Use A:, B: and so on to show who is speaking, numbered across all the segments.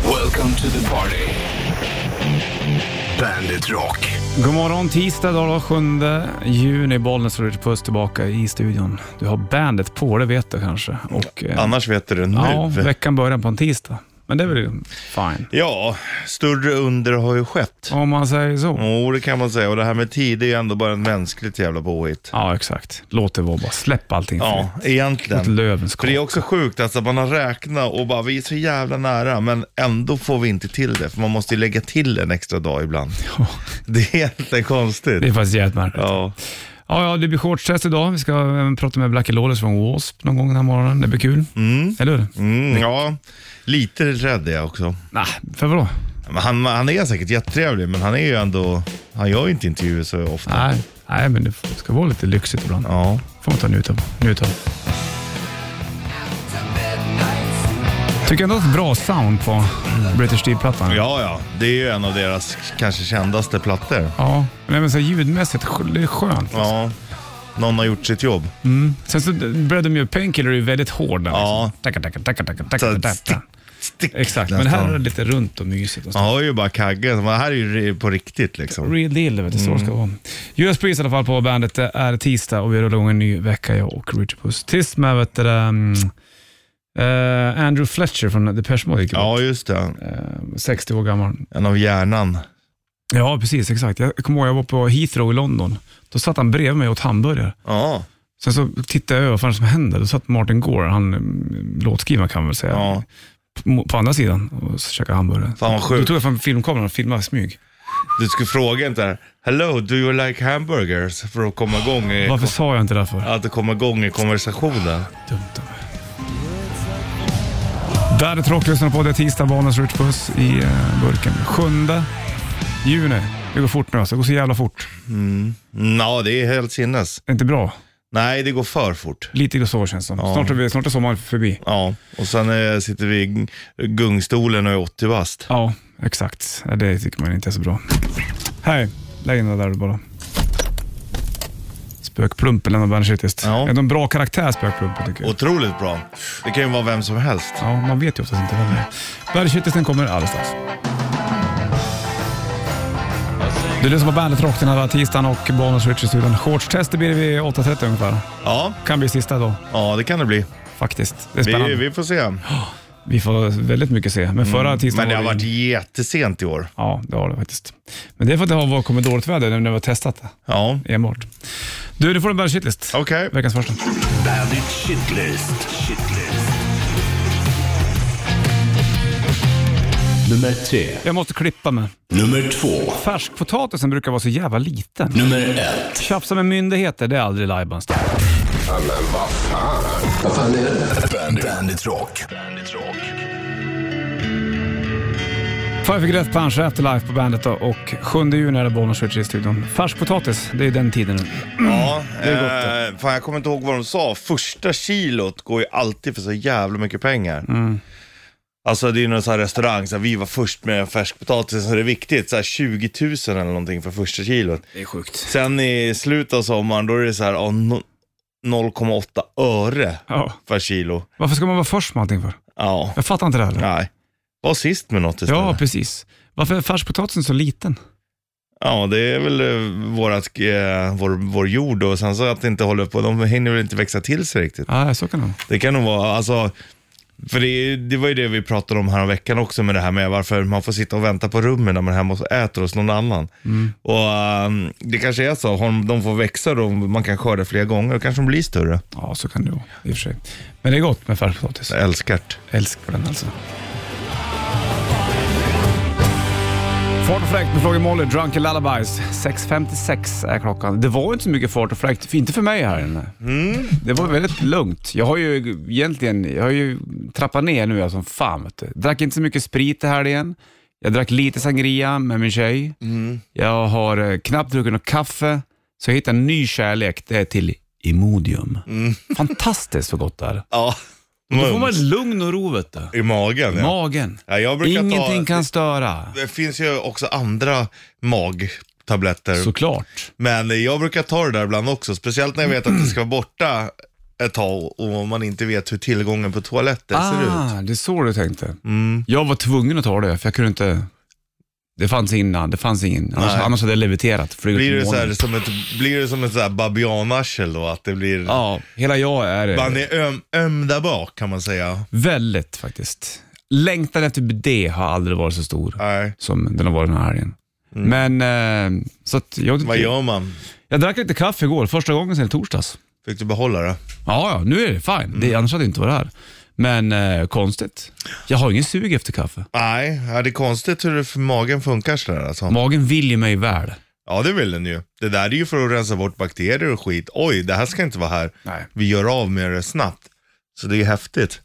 A: Welcome to the party. Bandit Rock.
B: God morgon, tisdag dag den 7 juni. Bollnäs och Ritchie Puss tillbaka i studion. Du har bandet på, det vet du kanske. Och, eh,
C: Annars vet du det nu.
B: ja,
C: Ja,
B: veckan börjar på en tisdag. Men det är väl fine.
C: större under har ju skett.
B: Om man säger så.
C: Jo, det kan man säga. Och det här med tid är ju ändå bara en mänskligt jävla påhitt.
B: Ja, exakt. Låt det vara bara. Släpp allting
C: Ja,
B: fritt. Låt
C: egentligen.
B: löven
C: För det är
B: skaka.
C: också sjukt, alltså man har räknat och bara vi är så jävla nära, men ändå får vi inte till det. För man måste ju lägga till en extra dag ibland.
B: Ja,
C: Det är egentligen
B: Det är
C: konstigt.
B: faktiskt jävligt märkligt.
C: Ja,
B: Ja, ja, det blir shortstest idag. Vi ska även prata med Blackie Lawless från Wasp någon gång den här morgonen. Det blir kul. Eller hur?
C: mm, ja. lite rädd är jag också.
B: Nej, för vadå?
C: Men han, han är säkert jättetrevlig, men han är ju ändå, han gör ju inte intervjuer så ofta.
B: Nej. Nej, men det ska vara lite lyxigt ibland.
C: Ja.
B: får man ta njut av. Njut av. Tycker ändå att det är ett bra sound på British Steel-plattan.
C: Ja, ja. Det är ju en av deras kanske kändaste plattor.
B: Ja, nej, men så här, ljudmässigt, det är skönt.
C: Ja. Någon har gjort sitt jobb.
B: Sen så började de ju, Painkiller är ju väldigt hård där.
C: Ja.
B: liksom. Tacka, tacka, tacka, tacka,
C: Så
B: tacka,
C: att stick,
B: tacka.
C: stick.
B: Exakt, men
C: nästan.
B: här är det lite runt och mysigt. Och så.
C: Han har ju bara kagge. men Det här är ju på riktigt liksom.
B: Real deal, vet du, så ska det vara. US Priest i alla fall på bandet. Det är tisdag och vi rullar igång en ny vecka, jag och Richard Puss. Sist med vet du, um, eh, Andrew Fletcher från Depeche Mode gick
C: Ja, just det.
B: eh, 60 år gammal.
C: En av hjärnan.
B: Ja, precis. Exakt. Jag kommer ihåg jag var på Heathrow i London. Då satt han bredvid mig och åt hamburgare.
C: Ja.
B: Sen så tittade jag över vad fan som hände. Då satt Martin Gore, han mm, låtskrivaren kan man väl säga,
C: ja.
B: på, på andra sidan och så käkade hamburgare.
C: Fan, vad sjukt.
B: Då tog jag fram filmkameran och filmade i smyg.
C: Du skulle fråga inte där. Hello, do you like hamburgers? För att komma igång i,
B: Varför sa jag inte det där för?
C: att komma igång i konversationen.
B: Dumt av mig. Där är Tråk lyssnar på. Det är tisdag, Bonus Rich Puss i eh, burken. 7 juni. Det går fort nu alltså. Det går så jävla fort.
C: Mm, Ja, det är helt sinnes.
B: Det är inte bra.
C: Nej, det går för fort.
B: Lite så känns det som. Snart är, vi, snart är sommaren förbi.
C: Ja, och sen eh, sitter vi i gung- gungstolen och är 80 bast.
B: Ja, exakt. Ja, Det tycker man inte är så bra. Hej, lägg in det där bara. Spökplumpen lämnar bandet sist.
C: Ja.
B: Är de bra karaktär, Spökplumpen, tycker jag.
C: Otroligt bra. Det kan ju vara vem som helst.
B: Ja, man vet ju oftast inte vem det är. Bergkittelsen kommer alldeles strax. Du lyssnar på Bandet Rock den här tisdagen och Bonus Rich i studion. Shortstestet blir det vid 8.30 ungefär.
C: Ja,
B: Kan bli sista idag,
C: ja det kan det bli.
B: faktiskt. Det är
C: Vi,
B: spännande. Vi,
C: vi får se.
B: får väldigt mycket se. Men förra tisdagen
C: Men det har
B: var
C: varit
B: vi-
C: jättesent i år.
B: Ja, det har det faktiskt. Men det är för att det har kommit dåligt väder när vi har testat det.
C: Ja,
B: Enbart. Du, du får en bad shitlist.
C: okej.
B: Veckans första.
A: Bandit Shitlist. Shitlist. Nummer tre.
B: Jag måste klippa mig.
A: Nummer två.
B: Färskpotatisen brukar vara så jävla liten.
A: Nummer ett.
B: Tjafsa med myndigheter, det är aldrig lajbans det.
A: Bandit, Bandit Rock. Bandit Rock.
B: Five Finger Death Punch, Afterlife på bandet då. och 7 juni är det Bollnäs Switch i studion. Färskpotatis, det är den tiden nu.
C: Ja,
B: är
C: eh, fan, jag kommer inte ihåg vad de sa. Första kilot går ju alltid för så jävla mycket pengar. Alltså det är ju någon sån här restaurang, så här, vi var först med färskpotatis, så det är viktigt. Så här 20 000 eller någonting för första kilot.
B: Det är sjukt.
C: Sen i slutet av sommaren, då är det så här, ja, no- 0,8 öre
B: Ja.
C: per kilo.
B: Varför ska man vara först med allting för?
C: Ja,
B: Jag fattar inte det heller.
C: nej. Var sist med något istället.
B: Ja, precis. Varför är färskpotatisen så liten?
C: Ja, det är väl eh, vårat, eh, vår, vår jord och sen så att det inte håller på, de hinner väl inte växa till sig riktigt.
B: Nej, så kan det vara.
C: Det kan nog vara, alltså, för det, det var ju det vi pratade om här om veckan också med det här med varför man får sitta och vänta på rummen när man är hemma och äter hos någon annan. Och ehm, det kanske är så, har de- de får växa då, man kan skörda fler gånger, då kanske de blir större.
B: Ja, så kan det vara i och för sig. Men det är gott med färskpotatis.
C: Jag älskar det.
B: Älskar den alltså. Fart och fläkt med Flogger Molly, Drunken Lullabies. 6.56 är klockan. Det var inte så mycket fart och fläkt, inte för mig här inne. Det var väldigt lugnt. Jag har ju egentligen, jag har ju trappat ner nu som fan vet du. Drack inte så mycket sprit i helgen. Jag drack lite sangria med min tjej. Jag har eh, knappt druckit något kaffe. Så jag hittade en ny kärlek, det är till Imodium. Fantastiskt så gott det är.
C: Ja,
B: Då får man
C: mums.
B: lugn och ro vet du.
C: Mm. I magen. Ja.
B: Magen.
C: Ja, jag brukar
B: Ingenting
C: ta,
B: kan störa.
C: Det finns ju också andra magtabletter.
B: Såklart.
C: Men jag brukar ta det där ibland också, speciellt när jag vet att det ska vara borta ett tag och man inte vet hur tillgången på toaletter ser ut. Mm.
B: Ah, det är så du tänkte. Jag var tvungen att ta det, för jag kunde inte... Det fanns innan, det fanns ingen. Annars,
C: Nej.
B: annars hade jag leviterat. flugit
C: Blir
B: till
C: det, så här,
B: månen.
C: som ett, blir det som ett så här babianarsel då? Att det blir,
B: Ja, hela jag är det.
C: man är öm, öm där bak kan man säga.
B: Väldigt faktiskt. Längtan efter det har aldrig varit så stor
C: Nej.
B: som den har varit den här helgen. Men, eh, så att jag,
C: Mm. Vad gör man?
B: jag drack lite kaffe igår, första gången sedan i torsdags.
C: Fick du behålla det?
B: Ja, ja, nu är det fine.
C: Mm.
B: Det, annars hade jag inte varit här. Men eh, konstigt. Jag har ingen sug efter kaffe.
C: Nej, ja, det är konstigt hur det, för magen funkar sådär alltså.
B: Magen vill ju mig väl.
C: Ja, det vill den ju. Det där är ju för att rensa bort bakterier och skit. Oj, det här ska inte vara här.
B: Nej.
C: Vi gör av med det snabbt. Så det är häftigt.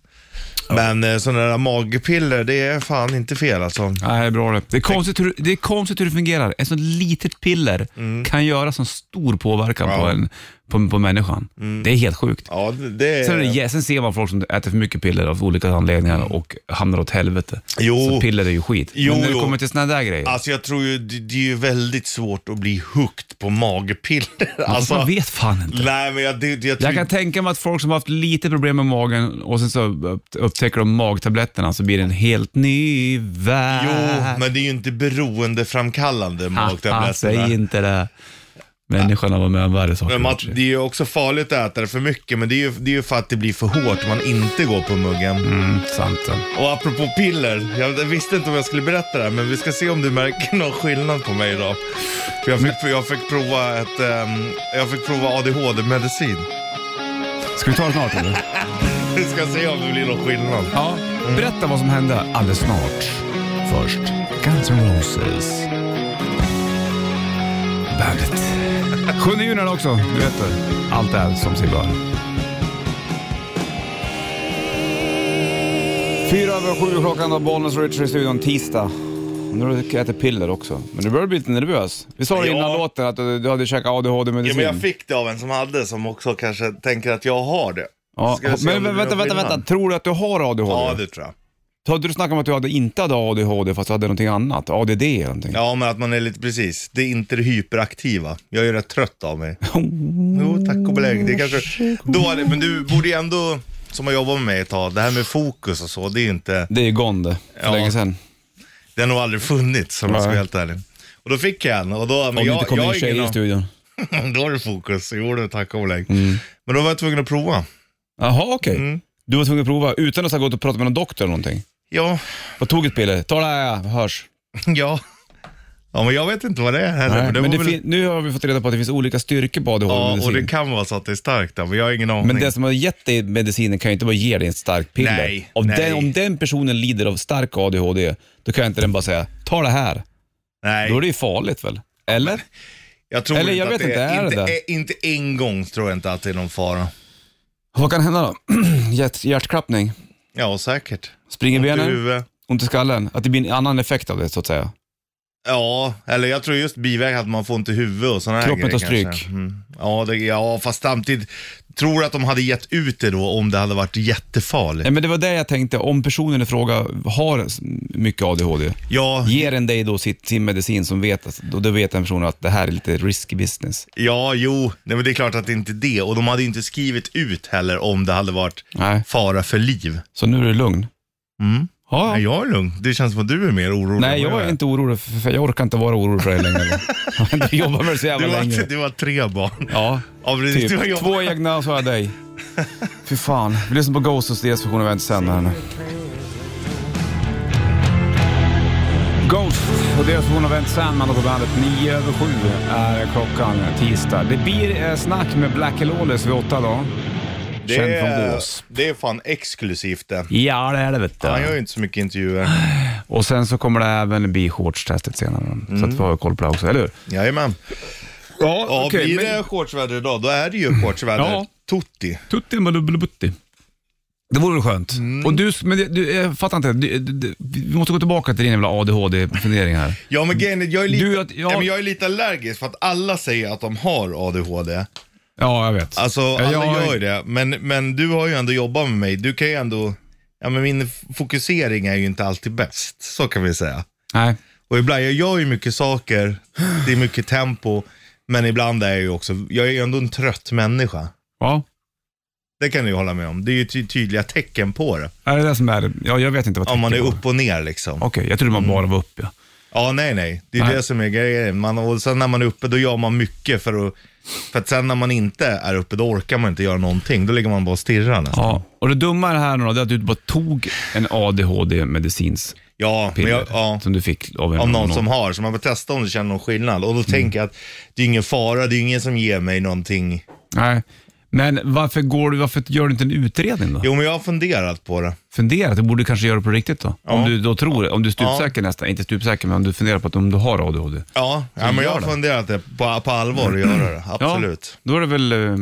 C: Men eh, sådana där magpiller, det är fan inte fel alltså.
B: Nej, det är bra det. Det är konstigt hur det, är konstigt hur det fungerar. Ett sånt litet piller kan göra sån stor påverkan på,
C: Mm. Ja. Mm.
B: en, på, på människan. Det är helt sjukt.
C: Ja, det- det
B: Sen, är det,
C: är...
B: jä- sen ser man folk som äter för mycket piller av olika anledningar och hamnar åt helvete.
C: Mm. Jo.
B: Så piller är ju skit.
C: Jo,
B: Men när det
C: jo.
B: kommer till såna där grejer,
C: Alltså jag tror ju, det, det är ju väldigt svårt att bli hooked på magpiller. Alltså,
B: man vet fan inte.
C: nej men jag, det, det, jag,
B: Jag
C: tror-
B: kan tänka mig att folk som har haft lite problem med magen och sen så upp- upptäcker de magtabletterna så blir det en helt ny värld.
C: Jo, men det är ju inte beroendeframkallande
B: Haha, Ah, Säg
C: magtabletterna.
B: inte det. Människan var med om värre saker.
C: Men man,
B: Richie.
C: det är ju också farligt att äta det för mycket, men det är ju, det är ju för att det blir för hårt om man inte går på muggen.
B: Mm, sant. sant.
C: Och apropå piller, jag visste inte om jag skulle berätta det här, men vi ska se om du märker någon skillnad på mig idag. För jag fick, för jag fick prova ett, ehm, jag fick prova ADHD-medicin.
B: Ska vi ta det snart eller?
C: Vi ska se om det blir någon skillnad.
B: ja. Berätta vad som hände alldeles snart. Först Guns N' Roses. Bandet. 7 juni är det också, du vet det. Allt är som sig bör. Fyra över sju klockan och Bollnäs och Richard i studion tisdag. Nu har du ätit piller också, men du börjar bli lite nervös. Vi sa det
C: Ja.
B: innan låten att du, du hade käkat
C: Ja,
B: ADHD-medicin.
C: men jag fick det av en som hade, som också kanske tänker att jag har det.
B: Ja,
C: Ska vi se
B: men
C: om det
B: vänta,
C: blir
B: vänta,
C: någon
B: vänta,
C: skillnad?
B: Tror du att du har ADHD?
C: Ja, det tror jag.
B: Hade du snackat om att du hade inte hade ADHD fast du hade någonting annat? ADD eller någonting?
C: Ja, men att man är lite, precis. Det är inte det hyperaktiva. Jag är ju rätt trött av mig.
B: Oh,
C: Jo, tack och belägg. Det är kanske dåligt, men du borde ju ändå, som har jobbat med mig ett tag, det här med fokus och så, det är ju inte,
B: Det är ju gone det, för
C: Ja.
B: länge sedan.
C: det har nog aldrig funnits om jag
B: Nej.
C: ska vara helt ärlig. Och då fick jag en och då, men
B: Om det inte
C: jag,
B: kommer
C: jag
B: in
C: har ingen
B: tjejer i
C: aning.
B: studion. Mm.
C: Då har du fokus, jo du tack och belägg. Men då var jag tvungen att prova.
B: Jaha, okej.
C: Mm.
B: Du var tvungen att prova utan att ha gått och pratat med någon doktor eller någonting.
C: Ja,
B: Och tog ett piller. Ta det här, hörs.
C: ja. Ja, men jag vet inte vad det är heller.
B: Nej,
C: det
B: men det
C: var väl-
B: fin- nu har vi fått reda på att det finns olika styrkor på
C: Ja, och
B: ADHD-medicin.
C: det kan vara så att det är starkt där, men jag har ingen aning.
B: men det som har gett dig medicinen kan ju inte bara ge dig en stark piller.
C: Nej,
B: Om
C: nej.
B: Den, om den personen lider av stark ADHD, då kan inte den bara säga ta det här.
C: Nej,
B: Då är det ju farligt väl? Eller?
C: jag tror
B: Eller
C: inte
B: jag
C: att
B: vet
C: det
B: inte, är det
C: inte,
B: det?
C: eh, inte en gång tror jag inte att det är någon fara.
B: Vad kan hända då? Hjärt- Hjärtklappning?
C: Ja, säkert.
B: Springer
C: Ont i
B: benen?
C: huvudet.
B: ont i skallen. Att det blir en annan effekt av det så att säga.
C: Ja, eller jag tror just biverkningar att man får ont i huvudet och sådana här
B: Kroppen
C: grejer
B: tar stryk.
C: kanske. Mm. Ja, det, ja, fast samtidigt, tror att de hade gett ut det då om det hade varit jättefarligt?
B: Nej, men det var det jag tänkte, om personen i fråga har s- mycket ADHD,
C: Ja,
B: ger den dig då sitt, sin medicin som vet, att- då, då vet den personen att det här är lite risky business.
C: ja jo, nej, men det är klart att det inte är det. Och de hade inte skrivit ut heller om det hade varit
B: Nej,
C: fara för liv.
B: så nu är du lugn.
C: Mm.
B: Ja.
C: Nej, jag är lugn. Det känns som att du är mer orolig
B: Nej,
C: än vad
B: jag är inte orolig, för för jag orkar inte vara orolig för dig längre. du jobbar med det så
C: Du
B: jävla
C: har,
B: länge.
C: du har tre barn.
B: Ja,
C: Ja, precis. Du har
B: typ.
C: jobbat-
B: Två egna och så har jag dig. Fy fan. Vi lyssnar på Ghost hos deras version av Inte sen här nu. Ghost och deras version av Inte Sandman och på bandet 9 över 7 är klockan tisdag. Det blir eh, snack med Black Lawless vid åtta då.
C: Det
B: Känd från
C: är,
B: Gås.
C: det är fan exklusivt det.
B: Ja, det är det vet
C: Han gör ju inte så mycket
B: Ah.
C: intervjuer.
B: Och sen så kommer det även bli shortstestet senare. Så att vi har koll på det också, eller hur?
C: Jajamän.
B: Mm. Ja,
C: Ja, blir det shortsväder idag, då är det ju shortsväder.
B: Ja.
C: Tutti.
B: Tutti malubbelubutti. Det vore väl skönt.
C: Mm.
B: Och du, men det- du, jag fattar inte. Du, du, du, vi måste gå tillbaka till din jävla ADHD-fundering här.
C: Ja men grejen är, jag är lite,
B: Du, att- ja.
C: ja. men jag är lite allergisk för att alla säger att de har ADHD.
B: Ja, jag vet.
C: Alltså
B: Ja,
C: alla
B: jag-
C: gör ju det, men, men du har ju ändå jobbat med mig. Du kan ju ändå, ja men min f- fokusering är ju inte alltid bäst, så kan vi säga.
B: Nej.
C: Och ibland, jag gör ju mycket saker, det är mycket tempo, men ibland är jag ju också, jag är ju ändå en trött människa.
B: Ja.
C: Det kan du ju hålla med om. Det är ju ty- tydliga tecken på det.
B: Är det det som är Ja, jag vet inte vad
C: Om man är
B: tecken var.
C: upp och ner liksom.
B: Okej, jag trodde man bara var upp ja.
C: Ja, nej, nej. Det är
B: Nej.
C: det som är grejen. Man, och sen när man är uppe, då gör man mycket för att... För att sen när man inte är uppe, då orkar man inte göra någonting. Då ligger man bara och stirrar nästan.
B: ja. Och det dumma i det här nu då, det är att du bara tog en ADHD-medicins
C: Ja, men
B: piller
C: jag, ja.
B: som du fick av en
C: Om någon som har, så man får testa om du känner någon skillnad.
B: Mm.
C: Och då tänker jag att det är ingen fara, det är ingen som ger mig någonting.
B: Nej. Men varför, går du, varför gör du inte en utredning då?
C: Jo, men jag har funderat på det.
B: Fundera, du borde kanske göra det på riktigt då. Om du då tror, om du är stupsäker nästan, inte stupsäker men om du funderar på att om du har ADHD.
C: Ja, ja men jag har
B: det.
C: funderat det på, på allvar att göra det. Absolut.
B: Ja, då är det väl, eh,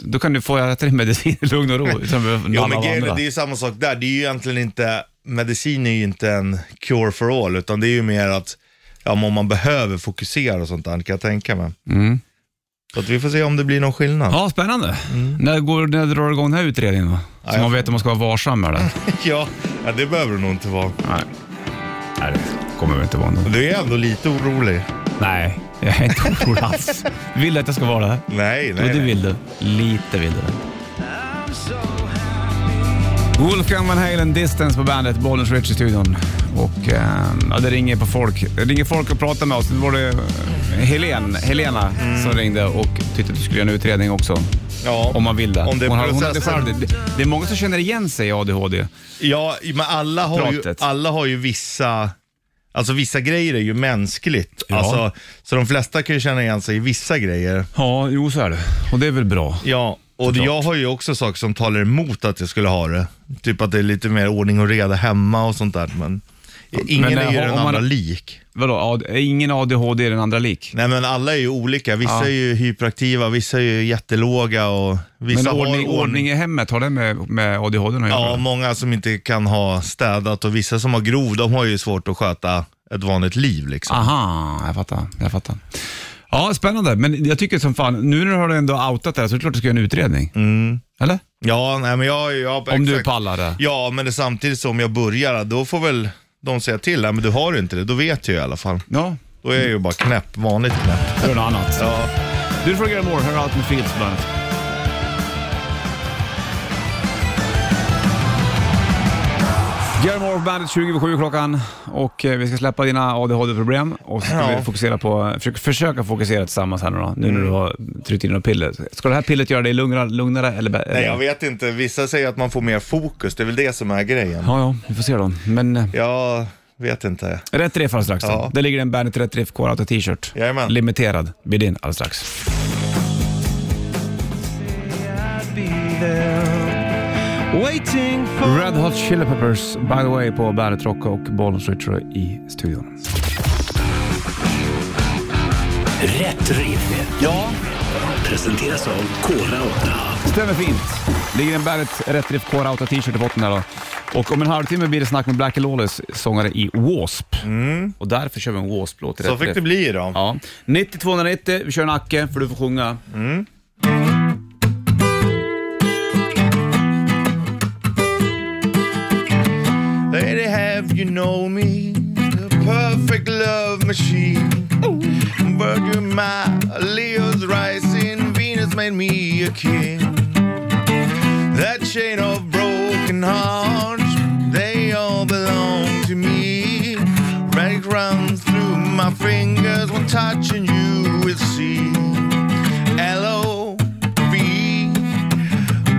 B: då kan du få äta din medicin i lugn och ro. utan att
C: Jo
B: nalla
C: men
B: av
C: grejen är,
B: andra.
C: det är ju samma sak där. Det är ju egentligen inte, medicin är ju inte en cure for all, utan det är ju mer att ja, men om man behöver fokusera och sånt där, kan jag tänka mig. Så att vi får se om det blir någon skillnad.
B: Mm. Ja, spännande. När, går, när drar du igång den här utredningen då? Så
C: Mm. jag-
B: man vet om man ska vara varsam med det.
C: Ja, ja, det behöver det nog inte vara.
B: Nej. Nej, det kommer väl inte vara någon.
C: Du är ändå lite orolig.
B: Nej, jag är inte orolig alls. Vill du att jag ska vara det?
C: Nej,
B: Jo,
C: nej.
B: det
C: nej.
B: vill du. Lite vill du det. Wolfgang Van Halen, Distance på bandet, Bollnäs Rich i studion. Och ehm, ja, det ringer på folk. Det ringer folk och pratar med oss. Det var det eh, Helen, Helena
C: Mm.
B: som ringde och tyckte att du skulle göra en utredning också.
C: Ja.
B: Om man vill det.
C: Om det är
B: hon, har- hon hade
C: processen.
B: själv, det. det är många som känner igen sig i ADHD.
C: Ja, men alla har, ju,
B: Pratet.
C: alla har ju vissa... Alltså vissa grejer är ju mänskligt.
B: Ja.
C: Alltså, så de flesta kan ju känna igen sig i vissa grejer.
B: Ja, jo så är det. Och det är väl bra.
C: Ja, och jag har ju också saker som talar emot att jag skulle ha det. Typ att det är lite mer ordning och reda hemma och sånt där. Men ingen
B: Men,
C: är ju
B: eh,
C: den
B: om man-
C: andra lik.
B: Vadå, AD, är ingen ADHD är den andra lik?
C: Nej men alla är ju olika. Vissa
B: Ja.
C: är ju hyperaktiva, vissa är ju jättelåga och vissa
B: Men
C: har
B: ordning, ordning i hemmet, har det med, med ADHD att
C: Ja,
B: göra?
C: många som inte kan ha städat och vissa som har grov, de har ju svårt att sköta ett vanligt liv liksom.
B: Aha, Typ. jag fattar. Jag fattar. Ja, spännande. Men jag tycker som fan, nu när du har ändå outat det här så är det klart du ska göra en utredning. Eller?
C: Mm. Ja, nej men jag... jag
B: Om du
C: exakt.
B: pallar det.
C: Ja, men det, samtidigt som jag börjar, då får väl de säga till. Nej men du har inte det, då vet jag i alla fall.
B: Ja,
C: Då är jag ju bara knäpp, vanligt
B: då
C: knäpp.
B: är det något annat.
C: Ja.
B: Du får göra more, hör allt med Fields på bandet. Gary på bandet 20 över 7 klockan och eh, vi ska släppa dina ADHD-problem och så ska
C: Ja. Mm.
B: vi fokusera på, försöka, försöka fokusera tillsammans här nu då, nu när du har tryckt in några piller. Ska det här pillret göra dig lugnare, lugnare eller bä-
C: Nej, jag vet inte. Vissa säger att man får mer fokus. Det är väl det som är grejen.
B: Ja, ja, vi får se då. Men eh,
C: Jag vet inte.
B: rätt riff alldeles strax. Ja.
C: Ja.
B: Där ligger det en Bandet Rätt Riff Core Auto t-shirt.
C: Jajamän.
B: Limiterad. Blir din alldeles strax. Red Hot Chili Peppers, by the way, på Bandet Rock och Bollnäs Retro i studion.
A: Rätt riff. Ja. Presenteras av Kora 8.
B: Stämmer fint. Ligger en Bandet Rätt Riff Core Auto t-shirt i botten där då. Och om en halvtimme blir det snack med Blackie Lawless, sångare i Wasp. Och därför kör vi en Wasp-låt i
C: Mm.
B: Rätt
C: Så fick
B: Riff.
C: det bli idag.
B: Ja. 90 290, vi kör Nacke för du får sjunga.
C: Lady, have you known me? The perfect love machine. Virgin my Leo's rising. Venus made me a king. That chain of broken hearts, they all belong to me. Right round through my fingers, when touching you will see. L-O-V,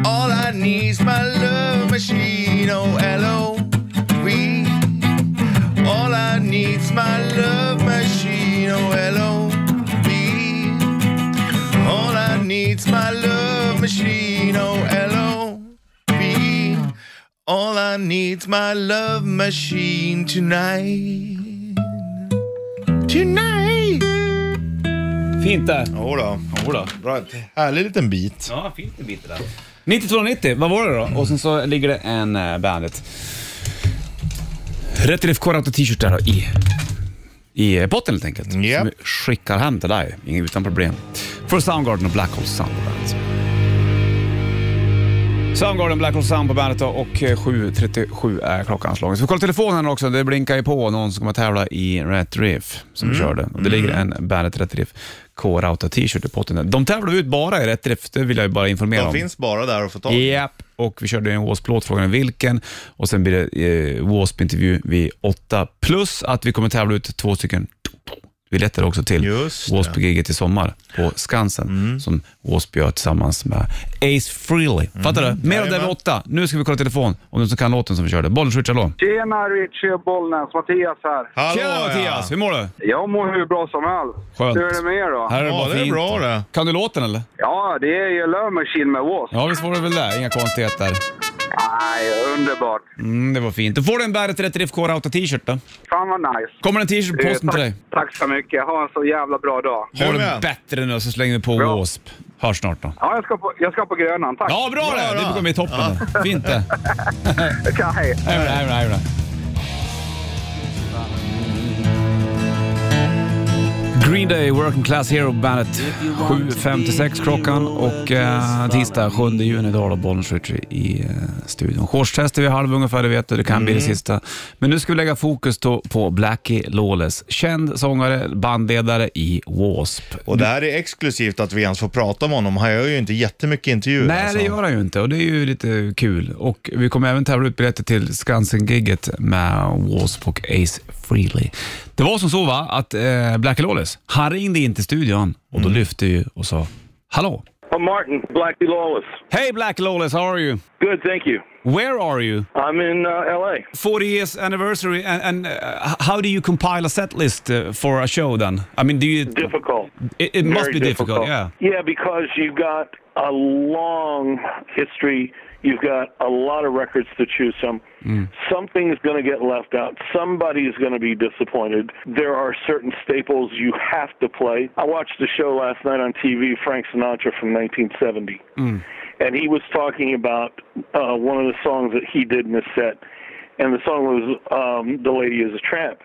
C: all I need's my love machine. Oh, L-O-V. All I need's my love machine. Oh, L-O-V. All I need's my love machine. Oh, L-O-V. All I need's my love machine tonight. Tonight!
B: Fint där.
C: Jodå.
B: Jodå.
C: Bra, härlig liten bit.
B: Ja, fint en bit där. 9290, vad var det då? Och sen så ligger det en eh, Bandet. Rätt Riff Core Auto t-shirt där då, i, i eh, potten helt enkelt.
C: Japp.
B: Som vi skickar hem till dig ingen- utan problem. För Soundgarden och Black Hole Sound på Bandet. Soundgarden, Black Hole Sun på bandet då och eh, 7.37 är klockan slagen. Så vi kollar telefonen här också. Det blinkar ju på någon som kommer tävla i Rätt Riff som
C: Mm.
B: vi körde. Och det ligger en Bandet Rätt Riff K-Rauta t-shirt i potten. där. De tävlar ut bara i Rätt Riff, det vill jag ju bara informera
C: De
B: om.
C: finns bara där att få tag i.
B: Japp, och vi körde en Wasp-låt, frågan är vilken. Och sen blir det eh, Wasp-intervju vid åtta. Plus att vi kommer tävla ut två stycken biljetter också till
C: Just det. Mm.
B: Wasp-giget i sommar på Skansen som Wasp gör tillsammans med Ace Frehley. Fattar du? Mer om det vid
C: Mm. Jajamän.
B: åtta. Nu ska vi kolla telefon om de som kan låten som vi körde. Bollen switchar hallå.
D: Tjena Richie och Bollnäs, Mattias här.
C: Hallå
B: Tjena Mattias, hur mår du?
D: Jag mår hur bra som helst.
B: Skönt.
D: Hur är det med er då?
B: Här är det
C: Ja,
B: bara
C: det är
B: fint.
C: bra det.
B: Kan du låten eller?
D: Ja, det är ju Love Machine med Wasp.
B: Ja, visst var det väl det? Inga konstigheter.
D: Nej, underbart.
B: Mm, det var fint. Då får du en Bandet Rätt Riff K-Rauta t-shirt då.
D: Fan vad nice.
B: Kommer en t-shirt på
D: Eh,
B: posten till dig.
D: tack, tack så mycket. Ha en så jävla bra dag.
B: Ha
C: Du
B: det
C: med.
B: bättre nu så slänger vi på
D: Bra.
B: W.A.S.P. Hörs snart då.
D: Ja, jag ska på, jag ska på Grönan. Tack.
B: Ja, bra
C: Bra,
B: det!
C: bra.
B: Det kommer bli toppen. det. Fint det.
D: Tja, hej.
B: Hej med dig, hej med dig, hej med dig. Green Day, Working Class Hero Bandet. 7.56 klockan och eh, tisdag 7 juni idag då, Bollnäs Ritchie i eh, studion. Shortstester vid halv ungefär, det vet du. Det kan bli det
C: Mm.
B: sista. Men nu ska vi lägga fokus då på Blackie Lawless. Känd sångare, bandledare i W.A.S.P.
C: Och det här är exklusivt att vi ens får prata om honom. Han gör ju inte jättemycket intervjuer.
B: Nej, det gör han ju inte och det är ju lite kul. Och Vi kommer även tävla ut biljetter till Skansen-gigget med Wasp och Ace Frehley. Det var som så va, att eh, Blackie Lawless, han ringde in till studion och då lyfte ju och sa Hallå!
E: I'm Martin, Blackie Lawless.
B: Hej Blackie Lawless, how are you?
E: Good, thank you.
B: Where are you?
E: I'm in uh, LA.
B: 40 years anniversary and, and uh, how do you compile a set list uh, for a show then? I mean, do you...
E: Difficult.
B: It, it must be
E: Very
B: difficult, yeah.
E: Yeah, because you've got a long history. You've got a lot of records to choose from.
B: Mm-hmm.
E: Something's going to get left out. Somebody's going to be disappointed. There are certain staples you have to play. I watched a show last night on TV, Frank Sinatra from 1970. And he was talking about uh, one of the songs that he did in this set. And the song was um, The Lady is a Tramp.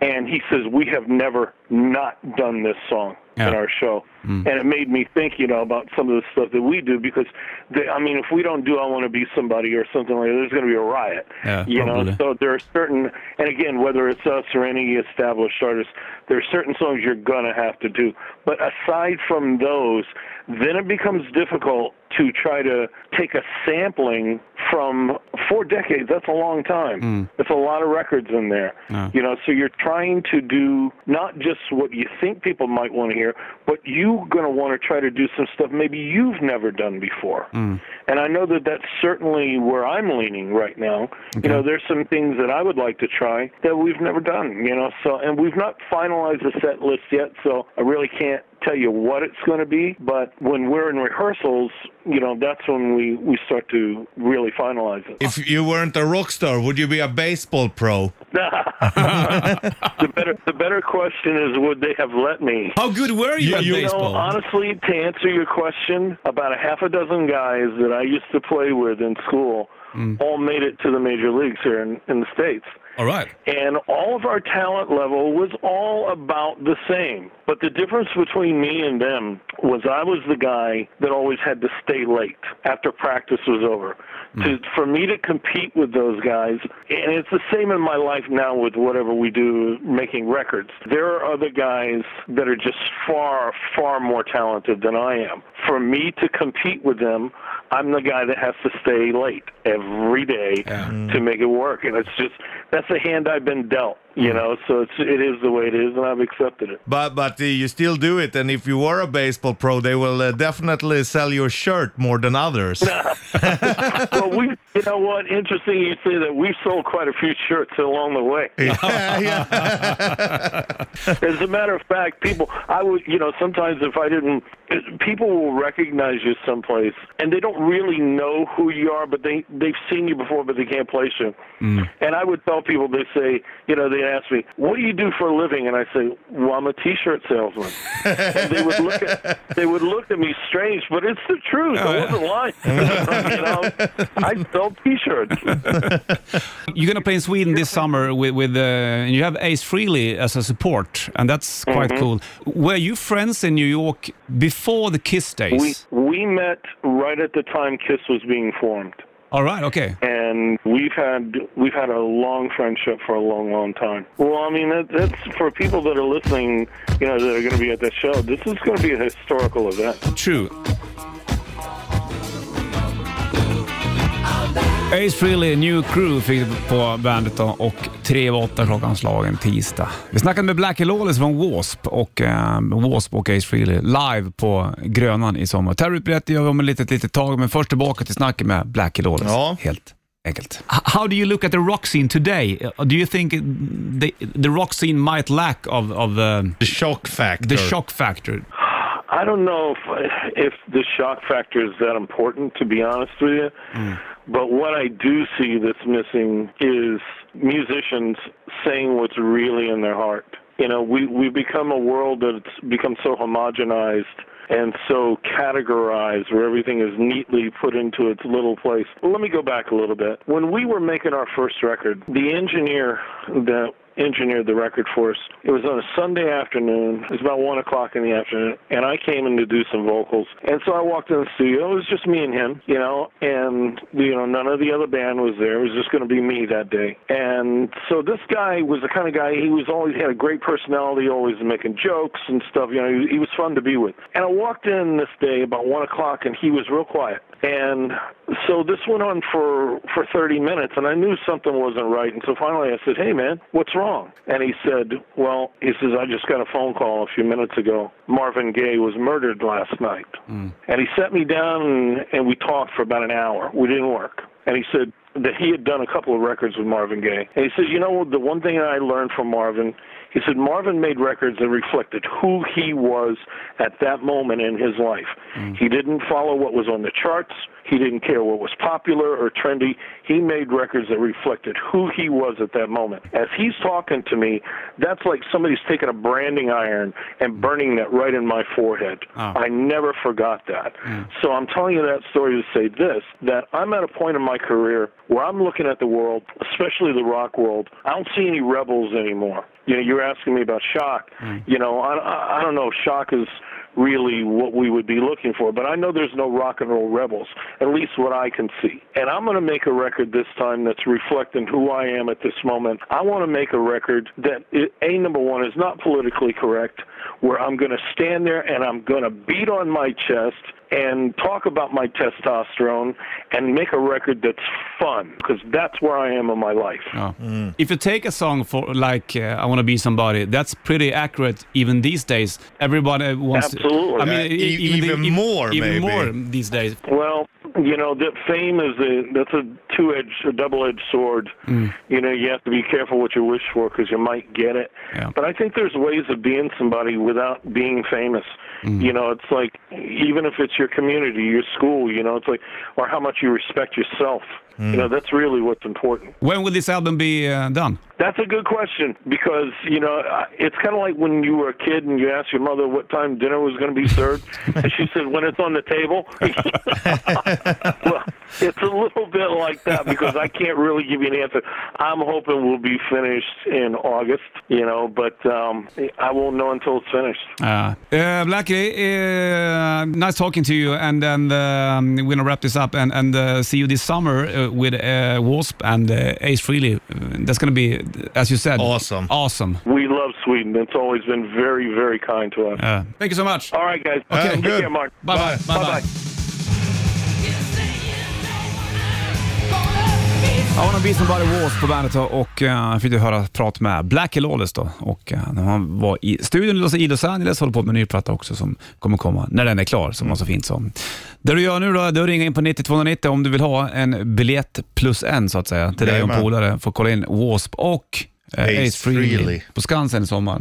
E: And he says, We have never not done this song
B: Yeah.
E: in our show. And it made me think, you know, about some of the stuff that we do because, they, I mean, if we don't do I Want to Be Somebody or something like that, there's going to be a riot.
B: Yeah,
E: you
B: probably.
E: know, so there are certain, and again, whether it's us or any established artist, there are certain songs you're going to have to do. But aside from those, then it becomes difficult to try to take a sampling from four decades. That's a long time.
B: Mm.
E: That's a lot of records in there. You know, so you're trying to do not just what you think people might want to hear, but you're going to want to try to do some stuff maybe you've never done before. And I know that that's certainly where I'm leaning right now. You know, there's some things that I would like to try that we've never done, you know, so, and we've not finalized the set list yet, so I really can't tell you what it's going to be, but when we're in rehearsals, you know, that's when we, we start to really finalize it.
C: If you weren't a rockstar, would you be a baseball pro?
E: the better, the better question is, would they have let me?
B: How good were you,
C: You-
B: at
C: you know,
B: baseball?
E: No, honestly, to answer your question, about a half a dozen guys that I used to play with in school all made it to the major leagues here in, in the States.
B: All right.
E: And all of our talent level was all about the same. But the difference between me and them was I was the guy that always had to stay late after practice was over. To, for me to compete with those guys, and it's the same in my life now with whatever we do making records. There are other guys that are just far, far more talented than I am. For me to compete with them, I'm the guy that has to stay late every day to make it work. And it's just that's the hand I've been dealt, you know. So it's it is the way it is, and I've accepted it.
C: But but uh, you still do it, and if you were a baseball pro, they will uh, definitely sell your shirt more than others.
E: well, we, you know what? Interesting, you say that we've sold quite a few shirts along the way.
C: yeah, yeah.
E: As a matter of fact, people, I would, you know, sometimes if I didn't, people will recognize you someplace, and they don't really know who you are, but they they've seen you before, but they can't place you. And I would tell people, they say, you know, they ask me, "What do you do for a living?" And I say, "Well, I'm a T-shirt salesman." and they would look at they would look at me strange, but it's the truth. I wasn't lying. you know, I sell T-shirts.
B: You're gonna play in Sweden this summer with with uh, and you have Ace Frehley as a support, and that's quite cool. Were you friends in New York before the Kiss days?
E: We we met right at the time Kiss was being formed.
B: All right, okej.
E: and we've had we've had a long friendship for a long, long time. Well, I mean, that, that's for people that are listening, you know, that are going to be at the show. This is going to be a historical event.
B: True. Ace Frehley, New Crew, fick det på bandet då, och tre över åtta klockan slagen tisdag. Vi snackade med Black Lawless från W.A.S.P. och eh, W.A.S.P. och Ace Frehley live på Grönan i sommar. Terrorutbrett gör vi om ett litet, litet tag, men först tillbaka till snacket med Black Lawless.
C: Ja.
B: Helt enkelt.
F: H- How do you look at the rock scene today? Uh, Do you think the, the rock scene might lack of, of uh,
C: The shock factor.
F: the shock factor?
E: I don't know if if the shock factor is that important, to be honest with you. But what I do see that's missing is musicians saying what's really in their heart. You know, we we become a world that's become so homogenized and so categorized where everything is neatly put into its little place. Let me go back a little bit. When we were making our first record, the engineer that engineered the record for us. It was on a Sunday afternoon. It was about one o'clock in the afternoon, and I came in to do some vocals. And so I walked in the studio. It was just me and him, you know, and you know none of the other band was there. It was just going to be me that day. And so this guy was the kind of guy. He was always had a great personality, always making jokes and stuff. You know, he, he was fun to be with. And I walked in this day about one o'clock, and he was real quiet. And so this went on for for 30 minutes, and I knew something wasn't right. And so finally, I said, "Hey, man, what's wrong?" And he said, "Well, he says I just got a phone call a few minutes ago. Marvin Gaye was murdered last night." And he sat me down, and, and we talked for about an hour. We didn't work. And he said that he had done a couple of records with Marvin Gaye. And he says, "You know, the one thing I learned from Marvin." He said Marvin made records that reflected who he was at that moment in his life. He didn't follow what was on the charts. He didn't care what was popular or trendy. He made records that reflected who he was at that moment. As he's talking to me, that's like somebody's taking a branding iron and burning that right in my forehead. I never forgot that. So I'm telling you that story to say this that I'm at a point in my career where I'm looking at the world, especially the rock world. I don't see any rebels anymore. You know, you're asking me about shock. You know, I- I, I don't know if shock is really what we would be looking for, but I know there's no rock and roll rebels, at least what I can see. And I'm going to make a record this time that's reflecting who I am at this moment. I want to make a record that, i- A, number one, is not politically correct, where I'm going to stand there and I'm going to beat on my chest and talk about my testosterone and make a record that's fun, because that's where I am in my life.
F: If you take a song for like uh, I want to be somebody, that's pretty accurate even these days. Everybody wants.
E: Absolutely.
F: To, I mean,
C: Yeah,
F: e-
C: e- even
F: the- e-
C: more,
F: even
C: maybe.
F: more these days.
E: Well, you know that fame is a that's a two edged, a double edged sword. You know you have to be careful what you wish for because you might get it.
F: Yeah.
E: But I think there's ways of being somebody without being famous. You know, it's like even if it's your community, your school. You know, it's like or how much you respect yourself. You know, that's really what's important.
F: When will this album be uh, done?
E: That's a good question because you know I- it's kind of like when you were a kid and you asked your mother what time dinner was going to be served, and she said when it's on the table. well, it's a little bit like that because I can't really give you an answer. I'm hoping we'll be finished in August, you know, but um, I won't know until it's finished.
F: Uh, uh, Blackie, uh, nice talking to you, and and um, we're gonna wrap this up and and uh, see you this summer uh, with uh, Wasp and uh, Ace Frehley. Uh, That's gonna be, as you said,
C: Awesome.
F: Awesome.
E: We love Sweden. It's always been very, very kind to us.
F: Uh, thank you so much.
E: All right, guys.
C: Okay,
E: Take
C: good.
E: care, Mark.
F: Bye bye. Bye bye.
E: Bye-bye.
B: I wanna be somebody was på bandet då och uh, fick du höra prat med Black Lawless då. Och eh, när han var i studion då så i Los Angeles håller på med en ny platta också som kommer komma när den är klar, som man så fint sa. Det du gör nu då, det är att ringa in på 90290 om du vill ha en biljett plus en så att säga till dig och en
C: Jajamän.
B: polare för att kolla in W.A.S.P. och eh,
C: Ace
B: Ace Frehley
C: Frehley.
B: på Skansen i sommar.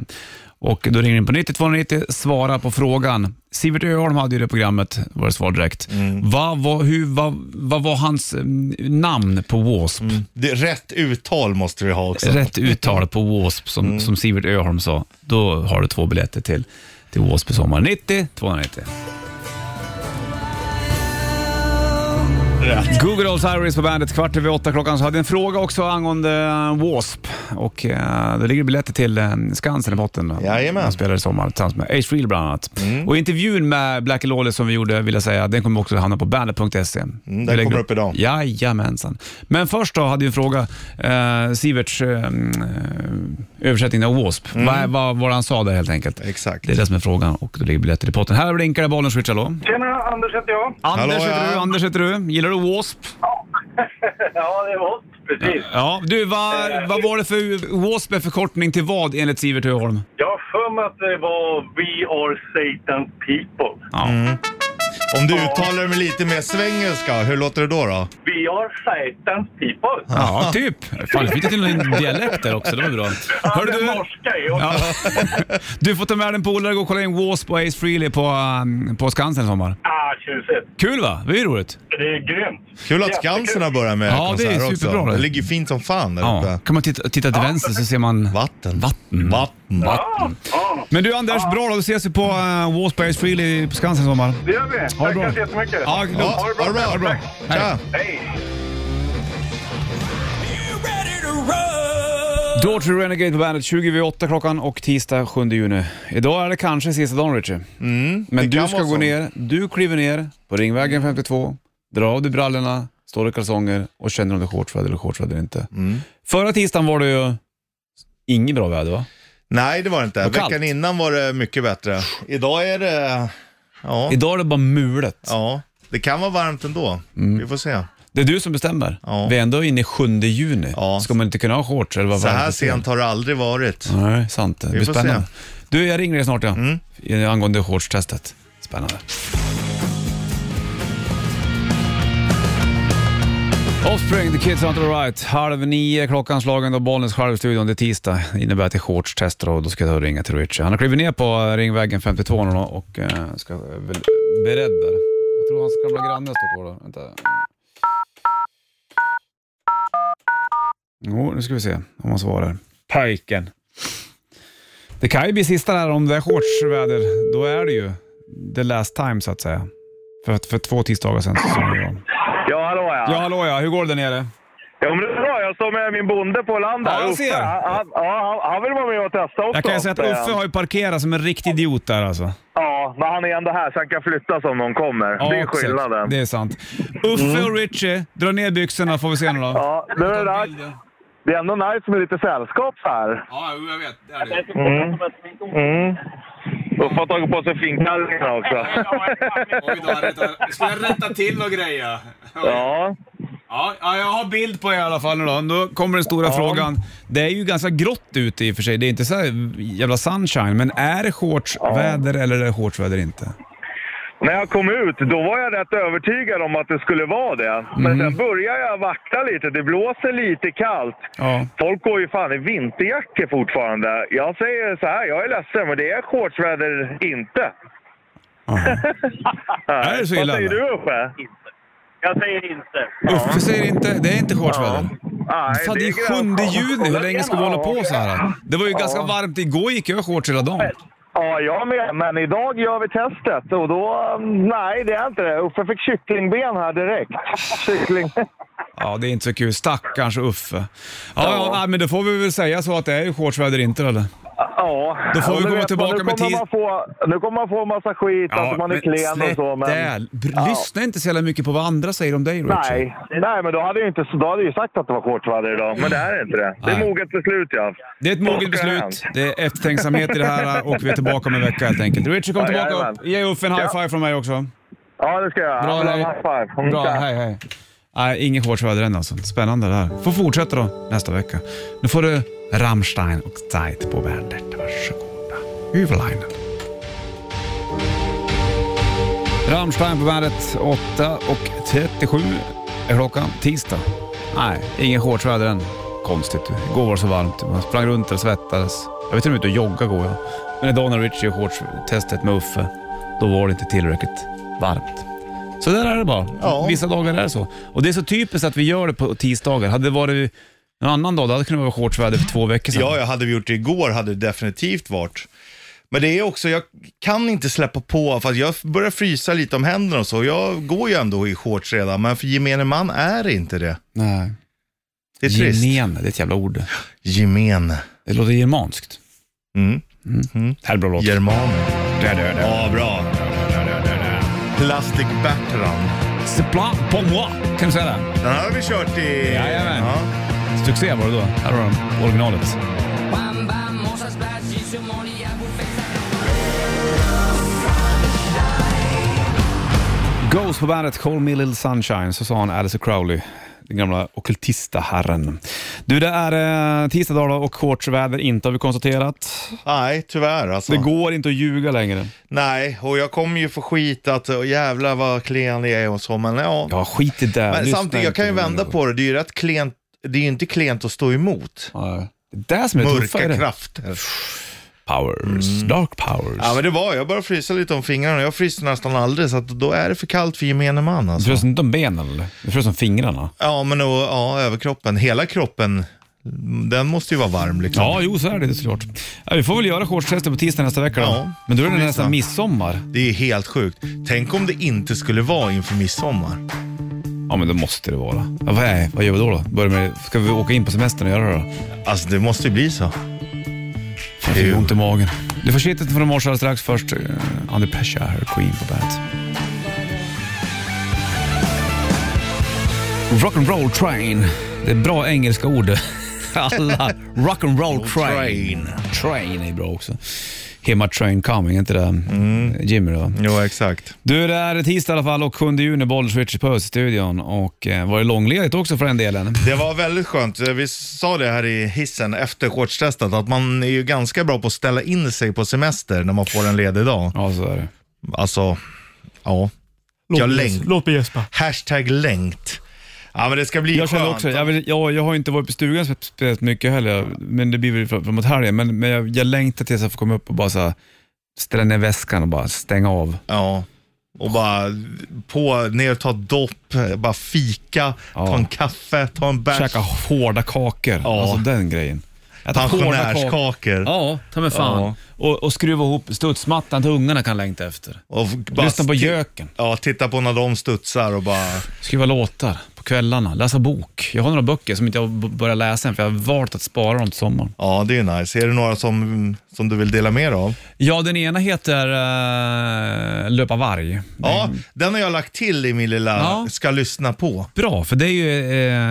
B: Och då ringer ni in på 90290, svara på frågan. Sivert Öholm hade ju det programmet, var det svar direkt.
C: Mm.
B: Vad var, hur, vad, vad var hans mm, namn på W.A.S.P?
C: Det, rätt uttal måste vi ha också. Mm.
B: Rätt uttal på W.A.S.P som, som Sivert Öholm sa. Då har du två biljetter till, till W.A.S.P i sommar. 90 290.
C: rätt.
B: Google Dolls Iris på bandet kvart över åtta klockan. Så hade jag en fråga också angående eh, W.A.S.P. Och eh, det ligger biljetter till eh, Skansen i botten.
C: Jajamän. Mm.
B: Han spelar i sommar tillsammans med Ace Frehl bland annat. Och intervjun med Black Lawless som vi gjorde, vill jag säga, den kommer också hamna på bandet.se. Mm,
C: den kommer upp idag.
B: Jajamensan. Men först då hade vi en fråga. Eh, Siverts eh, mm, eh, översättning av W.A.S.P. Vad, vad, vad han sa där helt enkelt.
C: Mm. Exakt.
B: Det är det som är frågan och då ligger biljetter i potten. Här blinkar det bollen, switch hallå.
E: Tjena, Anders heter jag.
B: Anders
C: Hallå,
B: heter
C: ja.
B: du, Anders heter du. Gillar du W.A.S.P?
E: ja, det var oss. Precis.
B: Ja, du vad, vad var det för W.A.S.P. är förkortning till vad enligt Sivert Öholm?
E: Jag har för mig att det var We are Satan's people.
B: Ja.
C: Om du uttalar det med lite mer svengelska, hur låter det då? då?
E: We are Satan's people.
B: ja, typ. Fan, jag fick till en dialekt där också. Det var bra. Hörde
E: det
B: du,
E: är norska ju.
B: ja. du får ta med en polare och gå och kolla in W.A.S.P. och Ace Frehley på, um, på Skansen i sommar.
E: Ah, tjusigt.
B: Kul va? Det är ju roligt.
E: Det är grymt.
C: Kul att Skansen har börjat med
B: Ja, det är
C: konsert också.
B: superbra det.
C: Det ligger ju fint som fan där
B: Ja.
C: uppe.
B: Kan man titta, titta till vänster så ser man...
C: Vatten.
B: Vatten.
C: Vatten.
F: Ah,
E: Ja, ja.
B: Men du Anders, bra då. Då ses vi på uh, W.A.S.P. och Ace Frehley på Skansen i sommar.
E: Det gör vi.
B: Ha det bra.
E: Tack så jättemycket.
B: Ja, lugnt.
C: Ja, ha det bra.
B: Ha det bra.
C: Tja.
E: Hej.
B: Daughtry Renegade på bandet 28 klockan och tisdag 7 juni. Idag är det kanske sista dagen Richie. Men
C: Mm, det
B: du
C: kan
B: ska
C: vara
B: gå
C: så.
B: ner, du kliver ner på Ringvägen 52, drar av dig brallorna, står i kalsonger och känner om det är shortsväder eller shortsväder inte.
C: Mm.
B: Förra tisdagen var det ju inget bra väder va?
C: Nej, det var det inte.
B: Och kallt.
C: Veckan innan var det mycket bättre. Idag är det... Ja,
B: Idag är det bara mulet.
C: ja. det kan vara varmt ändå.
B: Mm.
C: Vi får se.
B: Det är du som bestämmer.
C: Ja.
B: Vi är ändå inne i 7 juni.
C: Ja.
B: Ska man inte kunna ha shorts? Eller vad
C: Så
B: var det
C: här
B: för fel?
C: sent har det aldrig varit.
B: Nej, sant. Det blir
C: får
B: spännande.
C: se. Mm.
B: Du, jag ringer dig snart ja. I- Angående shortstestet. Spännande. Offspring, the kids aren't alright. Halv nio, klockan slagen då Bollnäs självstudion. Det är tisdag. Det innebär att det är shortstester och då ska jag ta och ringa till Richie. Han har klivit ner på eh, Ringvägen 52 nu då och eh, ska eh, väl beredd där. Jag tror hans gamla granne står på då. Vänta. Jo, nu ska vi se om han svarar. Pajken. Det kan ju bli sista där om det är shortsväder. Då är det ju the last time så att säga. För, för två tisdagar sedan så sa vi om.
F: Ja, hallå
B: Ja, hallå ja. Hur går det där nere?
F: Jo, men det är bra. Jag står med min bonde på landet.
B: Ja, jag ser.
F: Uffe, han, han, ja, han- han vill vara med och testa också.
B: Jag kan ju säga att Uffe har ju parkerat som en riktig idiot där alltså.
F: Ja, men han är ändå här så han kan flyttas om någon kommer. det är
B: Ja, exakt.
F: skillnaden. Mm.
B: Det är sant. Uffe och Richie, dra ner byxorna får vi se nu då.
F: Ja, nu är det dags. Det är ändå nice med lite sällskap så här.
B: Ja, jag vet. Det är det.
F: Mm. Uffe har tagit på sig finkallingarna också.
B: Ska jag rätta till några grejer?
F: Ja,
B: Ja, ja, jag har bild på er i alla fall nu då. Då kommer den stora frågan. Det är ju ganska grått ute i och för sig. Det är inte så här jävla sunshine, men är det shortsväder eller är det shortsväder inte?
F: när jag kom ut då var jag rätt övertygad om att det skulle vara det. Men
B: Mm.
F: sen börjar jag vackla lite. Det blåser lite kallt.
B: Ja.
F: Folk går ju fan i vinterjackor fortfarande. Jag säger så här, jag är ledsen, men det är shortsväder inte.
B: Är det så illa?
F: Vad säger du Uffe?
E: Jag säger inte.
B: Uffe säger inte, det är inte shortsväder.
F: Nej,
B: Fan, det är 7 juni, hur länge ska vi hålla på så här? Det var ju ganska varmt igår, gick jag i shorts hela dagen.
F: Ja, jag med. Men idag gör vi testet och då... mm, Nej, det är inte det. Uffe fick kycklingben här direkt. Kyckling...
B: Ja, det är inte så kul. Stackars Uffe. Ja, ja, nej, men då får vi väl säga så att det är ju shortsväder inte eller?
F: Ja.
B: Då får vi
F: Och nu
B: komma
F: vet
B: tillbaka
F: man, nu
B: med
F: kommer
B: tid.
F: Man få, nu kommer man få massa skit, att man är klen och så. Men...
B: det. liksom. Br- Lyssna inte så jävla mycket på vad andra säger om dig, Richard.
F: Nej. Nej, men då hade jag inte då hade jag ju sagt att det var shortsväder idag. Men det är inte det. Det
B: Nej.
F: är moget beslut, ja.
B: Det är ett moget
F: Vad ska
B: beslut,
F: hända?
B: det är eftertänksamhet i det här och vi är tillbaka om en vecka helt enkelt. Richard kom
F: Ja,
B: tillbaka
F: jajamän.
B: och ge Uffe en high five från mig också.
F: Ja, det ska jag göra.
B: Bra,
F: Bra,
B: hej.
F: high-five.
B: Bra, hej hej. Nej, ingen shortsväder än alltså. Spännande det här. Får fortsätta då nästa vecka. Nu får du Rammstein och Zeit på bandet. Varsågoda. Hyvelainen. Rammstein på bandet 8.37 är klockan. Tisdag. Nej, ingen shortsväder än. Konstigt. Igår var det så varmt. Man sprang runt och svettades. Jag vet till och med ut och jogga går jag. Men idag när Richie gjorde shortstestet med Uffe, då var det inte tillräckligt varmt. Så där är det bara.
C: Ja.
B: Vissa dagar är det så. Och det är så typiskt att vi gör det på tisdagar. Hade det varit en annan dag, då hade det kunnat vara shortsväder för två veckor sedan.
C: Ja, ja, hade vi gjort det igår hade det definitivt varit. Men det är också, jag kan inte släppa på, för att jag börjar frysa lite om händerna och så. Jag går ju ändå i shorts redan, men för gemene man är det inte det.
B: Nej.
C: Det är trist.
B: Gemene, det är ett jävla ord.
C: Gemen.
B: Det låter germanskt.
C: Mm.
B: Det här är bra låt.
C: German. Ja, bra. Plastic Bertrand.
B: C'est plat pour moi. Kan du säga det?
C: Den här har vi kört i...
B: Jajamän. Succé var det då. Här har de originalet. Ghost på bandet Call Me Little Sunshine, så sa han Alice Crowley, den gamla ockultista herren. Du, det är eh, tisdag dag då och shortsväder inte har vi konstaterat.
C: Nej, tyvärr alltså.
B: Det går inte att ljuga längre.
C: Nej, och jag kommer ju få skit att åh, jävlar vad klen det är och så, men ja.
B: Ja, skit i det.
C: men
B: Lyssna
C: samtidigt, jag
B: inte
C: kan ju
B: på
C: vända
B: det.
C: på det. Det är ju rätt klent, det är ju inte klent att stå emot.
B: Ja, Det är det som är det tuffa i
C: Mörka
B: det.
C: krafter.
B: Powers, dark powers.
C: Ja men det var, jag började frysa lite om fingrarna. Jag fryser nästan aldrig, så att då är det för kallt för gemene man
B: Du
C: alltså.
B: frös inte om benen eller? Du frös om fingrarna?
C: Ja, men och, ja, överkroppen. Hela kroppen, den måste ju vara varm liksom.
B: Ja, jo så är det såklart. Ja, vi får väl göra shortstester på tisdag nästa vecka då.
C: Ja,
B: Men då är det
C: får vi
B: nästan
C: se.
B: midsommar.
C: Det är helt sjukt. Tänk om det inte skulle vara inför midsommar.
B: Ja, men det måste det vara. Ja, vad, är, vad gör vi då? då? Börjar med, ska vi åka in på semestern och göra det då?
C: Alltså det måste ju bli så.
B: Fan, Jag fick ont i magen. Du får shitet från morse alldeles strax. Först eh, Under Pressure här, Queen på bandet. Rock'n'roll train. Det är bra engelska ord. Alla. Rock'n'roll train.
C: Train.
B: Train är bra också. Hemma train coming, är inte det mm. Jimmy då?
C: Jo, exakt.
B: Du, det är tisdag i alla fall och 7 juni, Bollswitch på studion och eh, var det långledigt också för den delen.
C: Det var väldigt skönt. Vi sa det här i hissen efter shortstestet, att man är ju ganska bra på att ställa in sig på semester när man får en ledig dag.
B: Ja, så är det.
C: Alltså, ja. Jag längt.
B: Låt mig gäspa.
C: Hashtag längt. Ja, men det ska bli
B: Jag känner
C: skönt.
B: också jag, vill, jag, jag har inte varit på stugan spe- speciellt mycket heller, men det blir väl fram- framåt helgen. Men, men jag, jag längtar tills jag får komma upp och bara så här, ställa ner väskan och bara stänga av.
C: Ja. Och bara på, ner och ta dopp, bara fika, ta en kaffe, ta en bärs.
B: Käka hårda kakor.
C: Ja.
B: Alltså den grejen. Äta hårda kakor.
C: Pensionärskakor.
B: Ja, ta mig fan.
C: Ja.
B: Och, och skruva ihop studsmattan till ungarna kan längta efter.
C: Och bara
B: Lyssna på
C: ti-
B: göken.
C: Ja, titta på när de studsar och bara...
B: Skriva låtar på kvällarna, läsa bok. Jag har några böcker som inte jag b- börjar läsa än för jag har valt att spara dem till sommaren.
C: Ja, det är ju nice. Är det några som, som du vill dela med dig av?
B: Ja, den ena heter eh, Löpa varg.
C: Ja, den har jag lagt till i min lilla
B: Mm. Ja.
C: ska lyssna på.
B: Bra, för det är ju,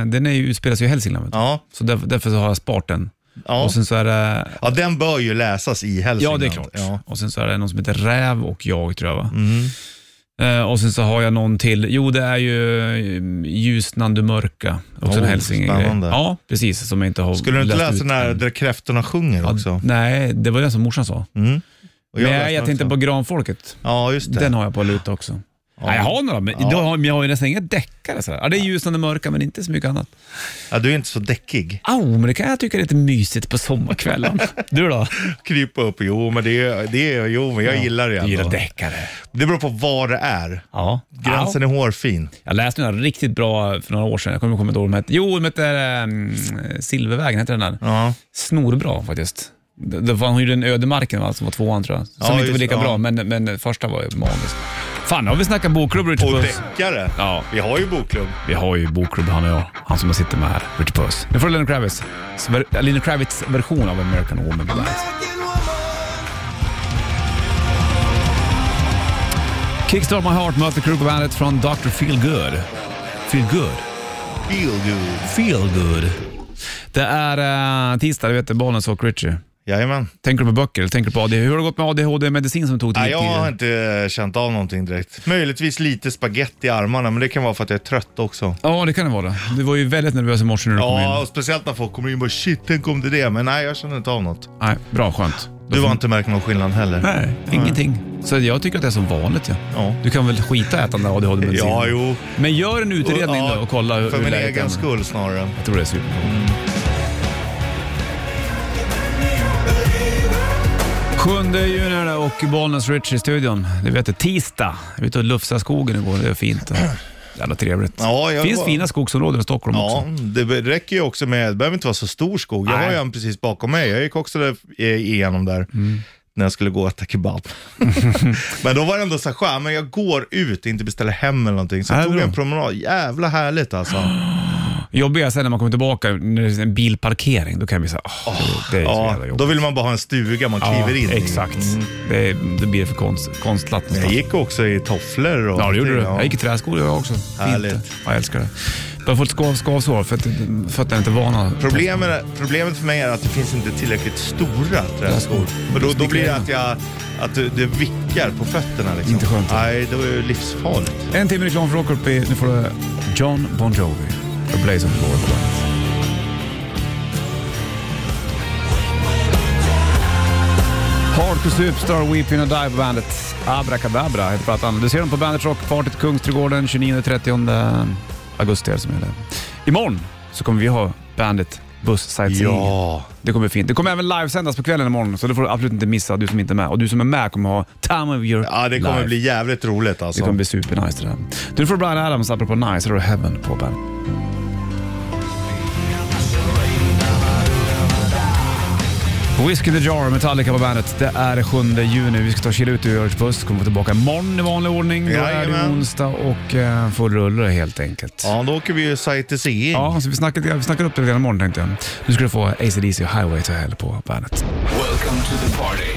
B: eh, den är ju, utspelas ju i Hälsingland. vet du.
C: Ja,
B: Så därför, därför så har jag sparat den.
C: ja.
B: Och sen så är det,
C: ja, den bör ju läsas i
B: ja,
C: Hälsingland.
B: det är klart.
C: Ja. Mm.
B: Och sen så är det någon som heter Räv och jag tror jag va? Eh, och sen så har jag någon till. Jo, det är ju eh, Ljusnan du mörka. Också
C: Oh,
B: en hälsingegrej.
C: spännande.
B: Ja, precis. Som jag inte har
C: Skulle du inte
B: läst
C: läsa
B: ut
C: den här
B: än.
C: där kräftorna sjunger också?
B: Nej, det var det som morsan sa.
C: Mm. Och
B: Jag
C: läste
B: Nej,
C: den
B: jag tänkte
C: också.
B: på Granfolket.
C: Ja, just det.
B: Den har jag på luta också. Nej, jag har några, men då har, men jag har ju nästan inga deckare. Sådär. Ja, det är Ljusnan du mörka, men inte så mycket annat.
C: Ja, du är inte så däckig.
B: Au, men det kan jag tycka är lite mysigt på sommarkvällen. du då?
C: krypa upp. Jo, men det är, det är, jo, men jag gillar det
B: Du gillar
C: ändå.
B: deckare.
C: Det beror på vad det är.
B: Ja.
C: Gränsen
B: Au.
C: är hårfin.
B: Jag läste den här riktigt bra för några år sedan. Jag kommer kommer inte ihåg vad den hette. Jo, den hette ehm, Silvervägen. Hette den där.
C: Ja.
B: Snorbra faktiskt. Det det var, hon gjorde en ödemarken va, som var tvåan tror jag. Som
C: Ja,
B: inte var
C: just-
B: lika
C: ja.
B: bra, men, men första var ju magisk. Fan, nu har vi snackat bokklubb Richard
C: Och
B: Puss.
C: däckare.
B: Ja.
C: Vi har ju bokklubb.
B: Vi har ju bokklubb han och jag. Han som jag sitter med här, Richard Puss. Nu får du Lenny Kravitz. Sver- Lenny Kravitz version av American Woman på bandet. Kickstart My Heart möter Crew på bandet från Dr. Feel Good. Feel Good.
C: Feel good.
B: Feel Good. Det är eh, tisdag, du vet Bollnäs och Richie.
C: Jajamän.
B: Tänker du på böcker eller tänker du på ADHD? Hur har det gått med ADHD-medicin som tog till
C: Nej, jag har
B: tidigare?
C: inte eh, känt av någonting direkt. Möjligtvis lite spaghetti i armarna, men det kan vara för att jag är trött också.
B: Ja, det kan det vara. Du var ju väldigt nervös i morse när du kom
C: Ja,
B: in.
C: och speciellt när folk kommer in och bara shit, tänk om det är det. Men nej, jag känner inte av något.
B: Nej, bra, skönt.
C: Du har inte märkt någon skillnad heller.
B: Nej, ingenting. Så jag tycker att det är som vanligt. Ja.
C: Ja.
B: Du kan väl skita i att äta den där ADHD-medicinen?
C: Ja, jo.
B: Men gör en utredning
C: Ja,
B: då och kolla hur
C: För
B: hur
C: min
B: läget är.
C: egen skull snarare.
B: Jag tror det är superbra. Sjunde juni är det och Bollnäs Rich i studion. Du vet det, tisdag. Jag var ute och lufsade skogen igår. Det är fint. Jävla trevligt.
C: Ja, jag
B: finns
C: var-
B: fina skogsområden i Stockholm
C: Ja,
B: också.
C: det be- räcker ju också med, det behöver inte vara så stor skog. Jag
B: Nej. Mm.
C: har ju en precis bakom mig. Jag gick också där, eh, igenom där. när jag skulle gå och äta kebab. men då var det ändå så här skönt, men jag går ut, inte beställer hem eller någonting. Så
B: Ja, det
C: jag
B: är
C: tog
B: bra. Ah,
C: en promenad. Jävla härligt alltså.
B: Jobbiga sen när man kommer tillbaka, när det är en bilparkering, då kan det bli såhär, åh, det är så
C: Ja,
B: jävla
C: då
B: jobbigt.
C: vill man bara ha en stuga man kliver in i.
B: Exakt. Det, är- det blir för konst, konstlat
C: Men Jag
B: någonstans.
C: gick också i tofflor och
B: Ja, det gjorde du.
C: Ja.
B: Jag gick i träskor jag också. Fint.
C: Härligt.
B: Ja, jag älskar det. Du har fått skav, skavsår för att fötterna inte är vana.
C: Problemet, problemet för mig är att det finns inte tillräckligt stora träskor. Men då, då blir det att, jag, att det, det vickar på fötterna. Liksom.
B: Inte skönt.
C: Nej, det var ju livsfarligt.
B: En timme reklam för Rockrup. Nu får du John Bon Jovi. The Blaze of Glory på bandet. Hardcore Superstar, Weeping and Die på bandet. Abrakadabra heter plattan. Du ser dem på Bandet Rock, partiet i Kungsträdgården 29-30 augusti är det som är det. Imorgon så kommer vi ha Bandet Buss Sightseeing.
C: Ja.
B: Det kommer bli fint. Det kommer även livesändas på kvällen imorgon, så det får du absolut inte missa, du som inte är med. Och du som är med kommer ha time of your
C: Ja, det kommer
B: life.
C: bli jävligt roligt
B: Det
C: alltså.
B: kommer bli supernice det där. Du får Brian Adams apropå nice, då är det Heaven på bandet. Whiskey in the Jar, Metallica på bandet. Det är 7 juni. Vi ska ta och chilla ut ur Örts buss. Kommer vara tillbaka imorgon i vanlig ordning. Då är det
C: Jajamän.
B: onsdag och eh, full rulle helt enkelt.
C: Ja, då åker vi ju sightseeing.
B: Ja, så vi snackar, lite- vi snackar upp det lite grann imorgon tänkte jag. Nu ska du få AC/DC och Highway to Hell på bandet.
A: Welcome to the party.